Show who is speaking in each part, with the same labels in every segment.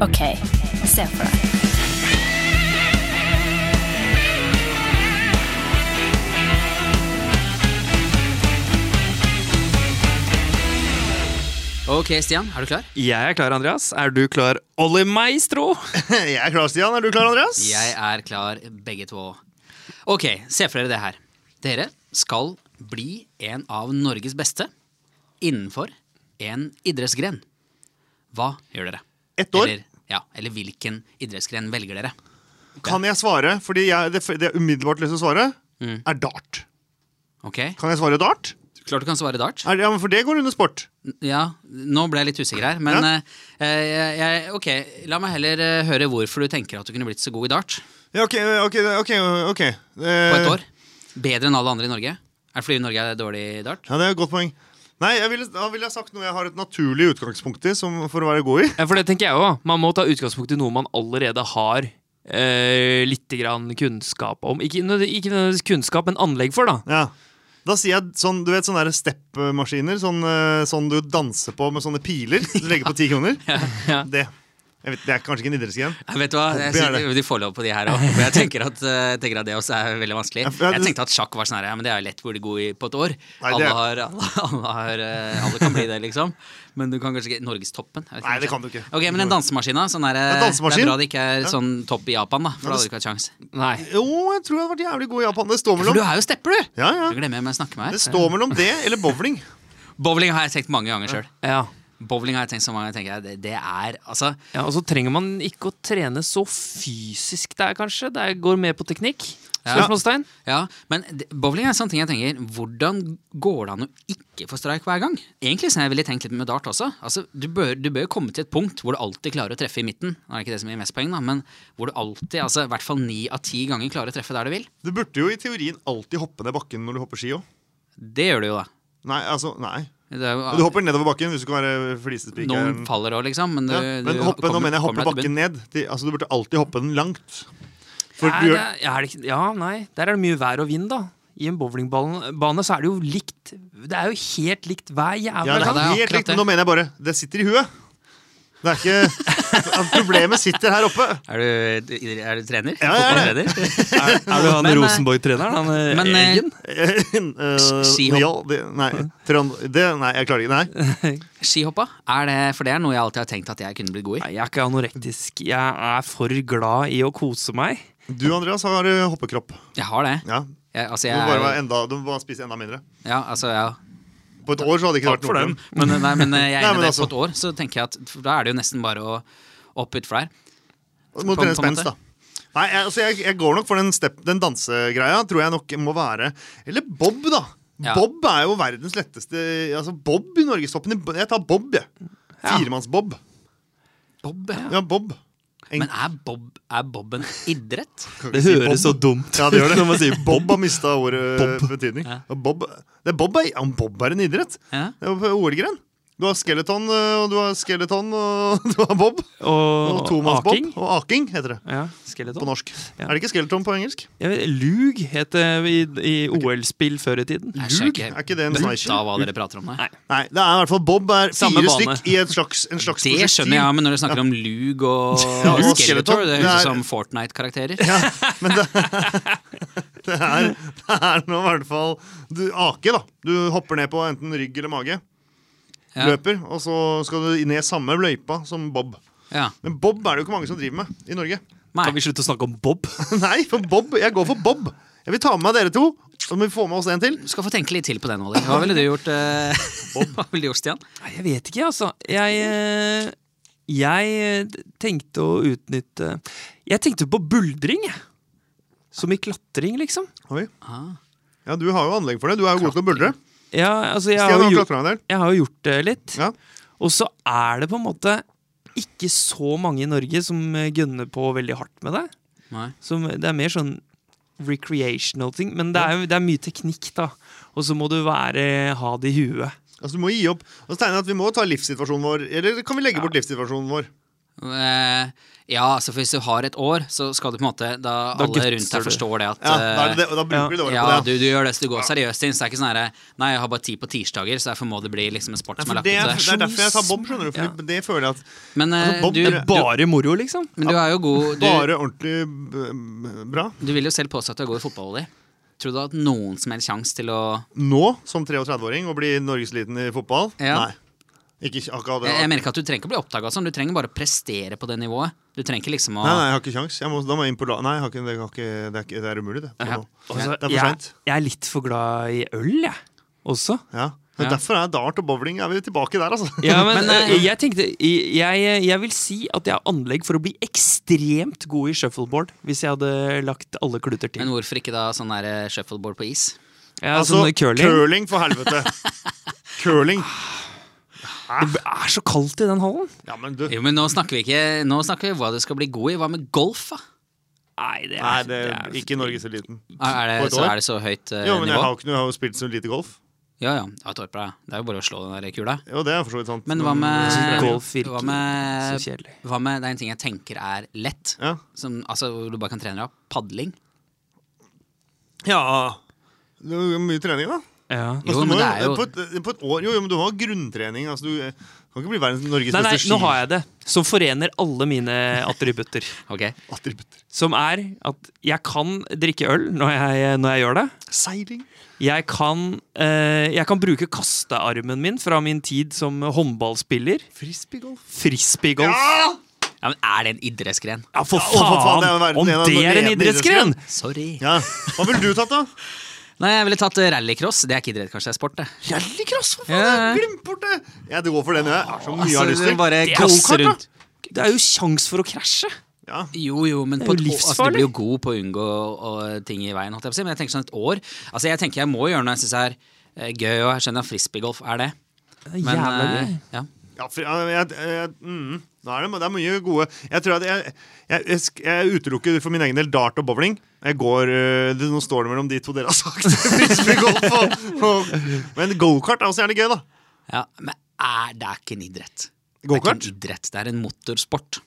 Speaker 1: OK, se for deg.
Speaker 2: Ok, Stian, er du klar?
Speaker 3: Jeg er klar, Andreas. Er du klar, Olli Maestro?
Speaker 4: Jeg er klar, Stian. Er du klar, Andreas?
Speaker 2: Jeg er klar, begge to. Ok, se for dere det her. Dere skal bli en av Norges beste innenfor en idrettsgren. Hva gjør dere?
Speaker 4: Ett år.
Speaker 2: Eller, ja, eller hvilken idrettsgren velger dere?
Speaker 4: Kan jeg svare? Fordi jeg, det, det jeg umiddelbart lyst til å svare,
Speaker 2: Mm.
Speaker 4: er dart.
Speaker 2: Ok,
Speaker 4: Kan jeg svare dart?
Speaker 2: Klart du kan svare dart.
Speaker 4: Er, ja, men For det går under sport.
Speaker 2: Ja, nå ble jeg litt usikker her, men eh, eh, jeg, ok, la meg heller eh, høre hvorfor du tenker at du kunne blitt så god i dart
Speaker 4: Ja, ok, ok, ok, ok.
Speaker 2: på
Speaker 4: Eh.
Speaker 2: et år. Bedre enn alle andre i Norge. Er det fordi Norge er dårlig i dart?
Speaker 4: Ja, det er et godt poeng. Nei, jeg ville, da ville jeg sagt noe jeg har et naturlig utgangspunkt i som, for å være god i.
Speaker 3: Eh, Ja, for det tenker jeg òg. Man må ta utgangspunkt i noe man allerede har eh, litt grann kunnskap om. Ikke, nød- ikke nødvendigvis kunnskap, men anlegg for, da.
Speaker 4: Ja. Da sier jeg sånn, du vet sånne der steppmaskiner, sånn, eh, sånn du danser på med sånne piler. Du legger på ti kroner. Det. Jeg vet, det er kanskje ikke en idrettsgren.
Speaker 2: Jeg vet du hva, jeg
Speaker 4: Hobby er
Speaker 2: synes de- de får lov på de her òg. Jeg tenker at, eh, jeg tenker at det også er veldig vanskelig.
Speaker 4: Ja,
Speaker 2: Jeg
Speaker 4: du-
Speaker 2: tenkte at sjakk var sånn her, ja, men det er jo lett hvor de er gode i på et år.
Speaker 4: Nei,
Speaker 2: Alle,
Speaker 4: det er-
Speaker 2: har, alle, alle, har, eh, alle kan bli det, liksom. Men du kan kanskje ikke Norgestoppen? jeg vet
Speaker 4: Nei, det kan du ikke.
Speaker 2: Ok, Men en dansemaskin, da? Sånn der,
Speaker 4: En
Speaker 2: eh,
Speaker 4: dansemaskin?
Speaker 2: det er bra det ikke er sånn topp i Japan, da. For da hadde du ikke hatt sjans.
Speaker 3: Nei.
Speaker 4: Jo, jeg tror jeg har vært jævlig god i Japan. Det står
Speaker 2: For du
Speaker 4: mellom,
Speaker 2: er jo stepper, du!
Speaker 4: ja, ja.
Speaker 2: Du glemmer hvem jeg snakker med
Speaker 4: Det
Speaker 2: her.
Speaker 4: står mellom det eller bowling.
Speaker 2: Bowling har jeg tenkt mange ganger sjøl.
Speaker 3: Ja.
Speaker 2: Bowling har jeg tenkt så mange ganger. tenker jeg, Det, det er altså
Speaker 3: ja, Og så trenger man ikke å trene så fysisk der, kanskje. Det er- går mer på teknikk.
Speaker 2: Ja.
Speaker 3: Spørsmålstegn.
Speaker 2: Ja, men det- bowling er en sånn ting jeg tenker Hvordan går det an å ikke få streik hver gang? Egentlig så jeg ville tenkt litt med dart også. Altså, du bør du bør jo komme til et punkt hvor du alltid klarer å treffe i midten. Nå er det ikke det som gir mest poeng, da, men hvor du alltid, altså i hvert fall ni av ti ganger, klarer å treffe der du vil.
Speaker 4: Du burde jo i teorien alltid hoppe ned bakken når du hopper ski òg.
Speaker 2: Det gjør du jo, da.
Speaker 4: Nei, altså, nei.
Speaker 2: Det er jo,
Speaker 4: Du hopper nedover bakken hvis du kan være flisespiker.
Speaker 2: noen faller òg, liksom. Men, du,
Speaker 4: Ja, men
Speaker 2: du
Speaker 4: hoppe, nå
Speaker 2: kommer-
Speaker 4: mener jeg hoppe
Speaker 2: kommer deg til
Speaker 4: bakken ned. De, altså, du burde alltid hoppe den langt. For
Speaker 3: Nei,
Speaker 4: du
Speaker 3: det
Speaker 4: gjør,
Speaker 3: er, er det ikke, ja, nei. Der er det mye vær og vind, da. I en bowlingbane så er det jo likt Det er jo helt likt hver jævla
Speaker 4: ja, det
Speaker 3: gang.
Speaker 4: er
Speaker 2: det er
Speaker 4: helt
Speaker 2: akkurat
Speaker 4: likt,
Speaker 2: det.
Speaker 4: men nå mener jeg bare Det sitter i huet. Det er ikke at Problemet sitter her oppe.
Speaker 2: Er du, er du trener?
Speaker 4: Ja, jeg er det.
Speaker 2: Fotballtrener?
Speaker 3: Er, du han
Speaker 2: Men, eh,
Speaker 3: Rosenborg-treneren? Han eh,
Speaker 2: Men eh,
Speaker 4: Eh,
Speaker 2: Skihopp.
Speaker 4: ja, det, nei, Trond, det, nei, jeg klarer ikke. Nei.
Speaker 2: skihoppa, er det, for det er noe jeg alltid har tenkt at jeg kunne blitt god i.
Speaker 3: Nei, jeg er ikke anorektisk. Jeg er for glad i å kose meg.
Speaker 4: Du, Andreas, har eh, hoppekropp.
Speaker 2: Jeg har det.
Speaker 4: Ja.
Speaker 2: Jeg, altså,
Speaker 4: Du
Speaker 2: jeg,
Speaker 4: må bare, være
Speaker 2: er-
Speaker 4: enda, du må bare spise enda mindre.
Speaker 2: ja, altså, ja.
Speaker 4: På et år så hadde det ikke vært
Speaker 3: for
Speaker 4: noe
Speaker 3: den.
Speaker 4: problem.
Speaker 2: Men, nei, men eh, jeg er
Speaker 4: Nei,
Speaker 2: enig
Speaker 4: men
Speaker 2: i det.
Speaker 4: altså-
Speaker 2: På et år så tenker jeg at for da er det jo nesten bare å opp ut flere.
Speaker 4: Du må
Speaker 2: På-
Speaker 4: trene
Speaker 2: på en måte.
Speaker 4: spenst, da. Nei, jeg, altså, jeg, jeg går nok for den, step, den dansegreia. Tror jeg nok må være Eller Bob, da.
Speaker 2: Ja.
Speaker 4: Bob er jo verdens letteste Altså Bob i Norgestoppen. Jeg tar Bob, jeg. Firemanns-Bob.
Speaker 2: Bob, ja.
Speaker 4: Ja, Bob.
Speaker 2: Men er bob, er bob en idrett?
Speaker 4: Kan ikke si Bob.
Speaker 3: dumt
Speaker 4: Ja, det gjør det. Bob har mista ordet eh, betydning.
Speaker 2: Ja.
Speaker 4: Og Bob, det er Bob, er, ja, Bob er en idrett.
Speaker 2: Ja.
Speaker 4: Det er jo OL-gren. Du har skeleton, eh, og du har skeleton, og du har Bob. Og
Speaker 3: Og,
Speaker 4: tomannsbob.
Speaker 3: aking.
Speaker 4: Og aking, heter det
Speaker 3: Ja,
Speaker 4: på
Speaker 3: skeleton.
Speaker 4: norsk.
Speaker 3: Ja.
Speaker 4: Er det ikke skeleton på engelsk?
Speaker 3: Jeg vet, lug het det i, i OL-spill før i tiden.
Speaker 2: Jeg
Speaker 4: Lug?
Speaker 2: skjønner
Speaker 4: Er ikke det en
Speaker 2: bøtta
Speaker 4: sniper?
Speaker 2: av hva dere prater om der.
Speaker 4: Nei, det er i hvert fall Bob er
Speaker 3: Samme
Speaker 4: fire
Speaker 3: bane.
Speaker 4: stykk i et slags, en slags
Speaker 2: Det skjønner jeg, men når dere snakker om lug og
Speaker 4: Ja,
Speaker 2: skeletor, det
Speaker 4: og skeletor, det er-
Speaker 2: høres ut som Fortnite-karakterer.
Speaker 4: Men det, det, er, det er nå i hvert fall Du ake, da. Du hopper ned på enten rygg eller mage.
Speaker 2: Ja.
Speaker 4: Løper, og så skal du ned samme løypa som Bob.
Speaker 2: Ja.
Speaker 4: Men Bob er det jo ikke mange som driver med i Norge.
Speaker 2: Nei.
Speaker 3: Kan vi slutte å snakke om Bob?
Speaker 4: Nei, for Bob, jeg går for Bob. Jeg vil ta med meg dere to. Så må vi få med oss en til.
Speaker 2: Du skal få tenke litt til på den, Olli. Hva ville du gjort, eh, hva ville du gjort Stian?
Speaker 3: Nei, jeg vet ikke, altså. Jeg, eh, jeg eh, tenkte å utnytte Jeg tenkte på buldring, jeg. Som i klatring, liksom.
Speaker 4: Oi.
Speaker 2: Ah.
Speaker 4: Ja, Du har jo anlegg for det. Du er jo god til å buldre.
Speaker 3: Ja, altså, jeg har,
Speaker 4: Stian
Speaker 3: jo
Speaker 4: har
Speaker 3: gjort,
Speaker 4: klatra en del.
Speaker 3: jeg har jo gjort det litt.
Speaker 4: Ja.
Speaker 3: Og så er det på en måte ikke så mange i Norge som eh, gønner på veldig hardt med det.
Speaker 2: Nei.
Speaker 3: Som, det er mer sånn recreational ting, men det er, jo- det er mye teknikk, da. Og så må du være, ha det i huet.
Speaker 4: Altså, Du må gi opp. Og så tegner jeg at Vi må ta livssituasjonen vår. Eller kan vi legge bort livssituasjonen vår?
Speaker 2: Eh, ja, altså for hvis du har et år, så skal du på en måte Da,
Speaker 3: Da
Speaker 2: alle rundt
Speaker 3: gutser
Speaker 2: deg
Speaker 3: du.
Speaker 2: forstår det at
Speaker 4: Ja, da, er
Speaker 2: eh,
Speaker 4: det det, og da bruker du det året
Speaker 2: ja,
Speaker 4: på
Speaker 2: du,
Speaker 4: det.
Speaker 2: du gjør det så du går seriøst inn. Så det er ikke sånn herre Nei, jeg har bare tid på tirsdager, så derfor må det bli liksom en sport
Speaker 4: Ja,
Speaker 2: som
Speaker 4: for
Speaker 2: er
Speaker 4: det,
Speaker 2: lagt opp
Speaker 4: det
Speaker 2: til
Speaker 4: er derfor jeg tar Bob, skjønner du. For det føler jeg at
Speaker 2: Men, eh,
Speaker 4: altså, Bob,
Speaker 2: du,
Speaker 4: det er
Speaker 2: du,
Speaker 3: Bare moro, liksom.
Speaker 2: men du er jo god du,
Speaker 4: bare ordentlig b- bra.
Speaker 2: du vil jo selv påstå at du er god i fotball, Olli. Tror du du har hatt noen som helst sjanse til å
Speaker 4: Nå, som 33-åring, å bli norgesliten i fotball?
Speaker 2: Ja.
Speaker 4: Nei. Ikke akkurat det.
Speaker 2: Jeg, jeg mener ikke at du trenger ikke å bli oppdaga sånn, du trenger bare å prestere på det nivået. Du trenger ikke liksom å
Speaker 4: Nei, nei, jeg har ikke kjangs. Jeg må, da må jeg inn på la... Nei, jeg har ikke, det, har ikke, det, er, ikke- det er umulig, det.
Speaker 2: Ja.
Speaker 4: Det er for
Speaker 3: jeg,
Speaker 4: sent.
Speaker 3: jeg er litt for glad i øl, jeg. Også.
Speaker 4: Ja. Men
Speaker 2: Ja.
Speaker 4: Derfor er dart og bowling er vi tilbake der, altså.
Speaker 3: Ja, men,
Speaker 2: Men,
Speaker 3: eh, jeg tenkte jeg, jeg vil si at jeg har anlegg for å bli ekstremt god i shuffleboard hvis jeg hadde lagt alle kluter
Speaker 2: Men
Speaker 3: til.
Speaker 2: hvorfor ikke da sånn der eh, shuffleboard på is?
Speaker 3: Ja,
Speaker 4: Altså,
Speaker 2: altså,
Speaker 3: sånn curling.
Speaker 4: for helvete. curling.
Speaker 3: Det er så kaldt i den hallen.
Speaker 4: Ja, men du
Speaker 2: Jo, men nå snakker vi ikke Nå snakker vi hva du skal bli god i. Hva med golf, da?
Speaker 3: Nei, det er,
Speaker 4: Nei, det er ikke norgeseliten.
Speaker 2: Er er
Speaker 4: På
Speaker 2: det,
Speaker 4: et
Speaker 2: så,
Speaker 4: år?
Speaker 2: er det så høyt eh,
Speaker 4: Jo, men jeg
Speaker 2: nivå?
Speaker 4: har jo ikke noe, jeg har jo spilt så lite golf.
Speaker 2: Ja, ja. Det er, et år på deg. det er jo bare å slå den der kula.
Speaker 4: Jo, det er for så vidt sant.
Speaker 2: Men hva med,
Speaker 3: golf virker
Speaker 2: hva
Speaker 3: så
Speaker 2: med
Speaker 3: kjedelig.
Speaker 2: hva med Det er en ting jeg tenker er lett,
Speaker 4: Ja.
Speaker 2: som, altså, hvor du bare kan trene deg opp. Padling.
Speaker 4: ja. Det er jo mye trening, da.
Speaker 3: Ja.
Speaker 2: Jo,
Speaker 4: Altså, du
Speaker 2: men
Speaker 4: må
Speaker 2: det er jo
Speaker 4: på, et, på et år, jo, jo, men du må ha grunntrening. Altså, du eh, kan ikke bli verdens Norges
Speaker 3: Nei, nei,
Speaker 4: beste
Speaker 3: nå har jeg det. Som forener alle mine attributter.
Speaker 2: Ok.
Speaker 4: skiattributter.
Speaker 3: Som er at jeg kan drikke øl når jeg, når jeg gjør det.
Speaker 4: Seiling.
Speaker 3: Jeg kan, eh, jeg kan bruke kastearmen min fra min tid som håndballspiller.
Speaker 4: Frisbeegolf.
Speaker 3: Frisbeegolf. Ja!
Speaker 4: Ah!
Speaker 2: Ja, men er det en idrettsgren?
Speaker 3: for
Speaker 4: Ja, å, for faen,
Speaker 3: faen!
Speaker 4: det er jo verden
Speaker 3: Om
Speaker 4: en av
Speaker 3: det er en
Speaker 4: ledende
Speaker 3: idrettsgren!
Speaker 2: Sorry.
Speaker 4: Ja. Hva ville du tatt, da?
Speaker 2: Nei, jeg ville tatt eh, rallycross. Det er ikke idrett, kanskje. Det er sport, det.
Speaker 4: Rallycross, for
Speaker 2: Ja.
Speaker 4: faen! jeg Glemt bort det! Jeg går for den, jeg. Jeg har så mye jeg
Speaker 2: Altså,
Speaker 4: har lyst til.
Speaker 2: bare
Speaker 3: Det er
Speaker 2: gasse
Speaker 3: go-kart, da.
Speaker 2: rundt.
Speaker 3: Det er jo sjans for å krasje.
Speaker 4: Ja.
Speaker 2: Jo, jo, men
Speaker 3: Det er
Speaker 2: på
Speaker 3: jo
Speaker 2: et, år- altså, du
Speaker 3: livsfarlig.
Speaker 2: blir jo god på å unngå og, ting i veien. Holdt jeg på å si. Men jeg tenker sånn et år Altså jeg tenker jeg må gjøre noe jeg syns er eh, gøy, og jeg skjønner at frisbeegolf er det.
Speaker 3: Det er
Speaker 2: Men
Speaker 3: jævla
Speaker 2: eh,
Speaker 3: gøy.
Speaker 2: ja.
Speaker 4: Ja, for, ja, jeg, jeg, mm, nå er det, det er mye gode Jeg tror at jeg, jeg, jeg, sk- jeg utelukker for min egen del dart og bowling. Jeg går, øh, det, nå står det mellom de to dere har sagt. Frisbeegolf og, og Men gokart er også gjerne gøy, da.
Speaker 2: ja, Men er det er ikke en idrett. Det er ikke
Speaker 4: Gokart?
Speaker 2: en idrett, det er en motorsport.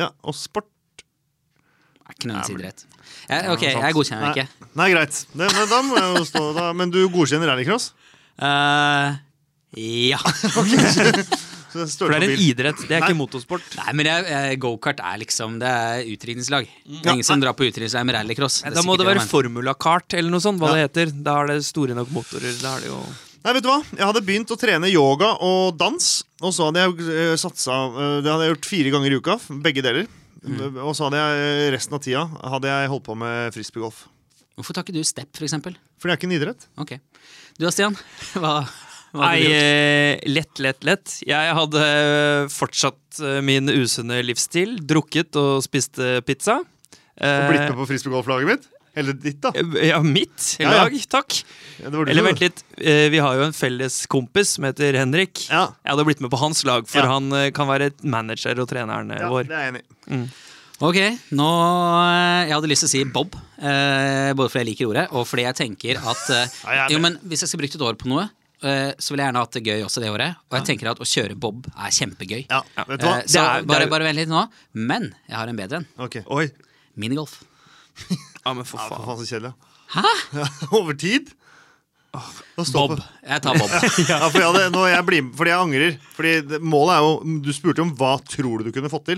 Speaker 4: Ja, og sport.
Speaker 2: Det er ikke noens idrett. Jeg, ok, jeg godkjenner det ikke.
Speaker 4: Nei, nei greit. Det, men, da må jeg jo stå da. Men du godkjenner rallycross?
Speaker 2: Eh, ja.
Speaker 4: Så det
Speaker 3: For
Speaker 4: står
Speaker 3: det er
Speaker 4: på
Speaker 3: en
Speaker 4: bil.
Speaker 3: idrett, det er
Speaker 4: Nei.
Speaker 3: ikke motorsport.
Speaker 2: Nei, men jeg- jeg- gokart er liksom Det er utdrikningslag. Det er ingen som drar på utdrikningslag med rallycross. er
Speaker 3: Da må
Speaker 2: sikkert
Speaker 3: det være
Speaker 2: man-
Speaker 3: formulakart eller noe sånt, hva det heter. Da er det store nok motorer. Da er det jo
Speaker 4: Nei, vet du hva? Jeg hadde begynt å trene yoga og dans. Og så hadde jeg øh, satsa øh, Det hadde jeg gjort fire ganger i uka. Begge deler.
Speaker 3: Mm.
Speaker 4: Og så hadde jeg øh, resten av tida Hadde jeg holdt på med frisbeegolf.
Speaker 2: Hvorfor tar ikke du step, for eksempel?
Speaker 4: For det er ikke en idrett.
Speaker 2: Ok. Du da, Stian? Hva, hva hadde
Speaker 3: Nei,
Speaker 2: du gjort?
Speaker 3: eh, lett, lett, lett. Jeg hadde eh, fortsatt eh, min usunne livsstil. Drukket og spist eh, pizza.
Speaker 4: Og
Speaker 3: Eh,
Speaker 4: blitt med på frisbeegolflaget mitt? Eller ditt, da.
Speaker 3: eh, Ja, mitt
Speaker 4: Ja, ja.
Speaker 3: lag, takk.
Speaker 4: Ja, det var du
Speaker 3: Eller
Speaker 4: som-
Speaker 3: vent litt, eh, vi har jo en felles kompis som heter Henrik.
Speaker 4: Ja.
Speaker 3: Jeg hadde blitt med på hans lag, for
Speaker 4: Ja.
Speaker 3: han eh, kan være manager og treneren eh,
Speaker 4: Ja,
Speaker 3: vår.
Speaker 4: det er jeg enig i.
Speaker 2: Ok, nå eh, Jeg hadde lyst til å si Bob, eh, både fordi jeg liker ordet, og fordi jeg tenker at eh,
Speaker 4: Ja, jeg er
Speaker 2: Jo,
Speaker 4: med.
Speaker 2: men hvis jeg skal bruke et år på noe, eh, så vil jeg gjerne ha hatt det gøy også det året. Og jeg tenker at å kjøre Bob er kjempegøy.
Speaker 4: Ja, vet du
Speaker 2: Eh,
Speaker 4: hva?
Speaker 2: så
Speaker 3: Det er- det
Speaker 2: bare,
Speaker 3: er-
Speaker 2: bare vent litt nå. Men jeg har en bedre en.
Speaker 4: Ok. Ja,
Speaker 3: Oi.
Speaker 2: Minigolf.
Speaker 3: Ja, men for
Speaker 4: for
Speaker 3: faen.
Speaker 4: faen så kjedelig. Hæ? Over tid? Å stå
Speaker 2: Bob.
Speaker 4: på-
Speaker 2: Jeg tar Bob.
Speaker 4: Ja, for jeg hadde, når jeg blir, med- fordi jeg angrer. Fordi det, målet er jo Du spurte om hva tror du du kunne fått til.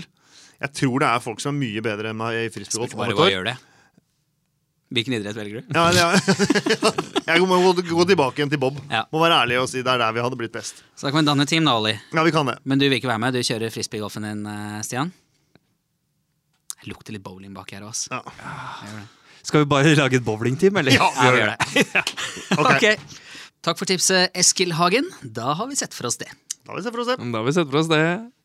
Speaker 4: Jeg tror det er folk som er mye bedre enn meg i frisbeegolf.
Speaker 2: Bare
Speaker 4: om
Speaker 2: hva
Speaker 4: et år.
Speaker 2: gjør det? Hvilken idrett velger du?
Speaker 4: Ja, ja. Jeg må gå, gå tilbake igjen til Bob.
Speaker 2: Ja.
Speaker 4: Må være ærlig og si det er der vi hadde blitt best.
Speaker 2: Så da kan vi danne team, da, Olli.
Speaker 4: Ja, vi kan det.
Speaker 2: Men du vil ikke være med. Du kjører frisbeegolfen din, eh, Stian. Jeg lukter litt bowling bak her også.
Speaker 4: Ja.
Speaker 3: Skal vi bare lage et bowlingteam, eller?
Speaker 4: Ja.
Speaker 2: Ja, vi gjør det.
Speaker 4: Ok.
Speaker 2: Ok. Takk for tipset, Eskil Hagen. Da har vi sett for oss det.
Speaker 4: Da vil vi se for oss det.
Speaker 3: Da har vi sett for oss det.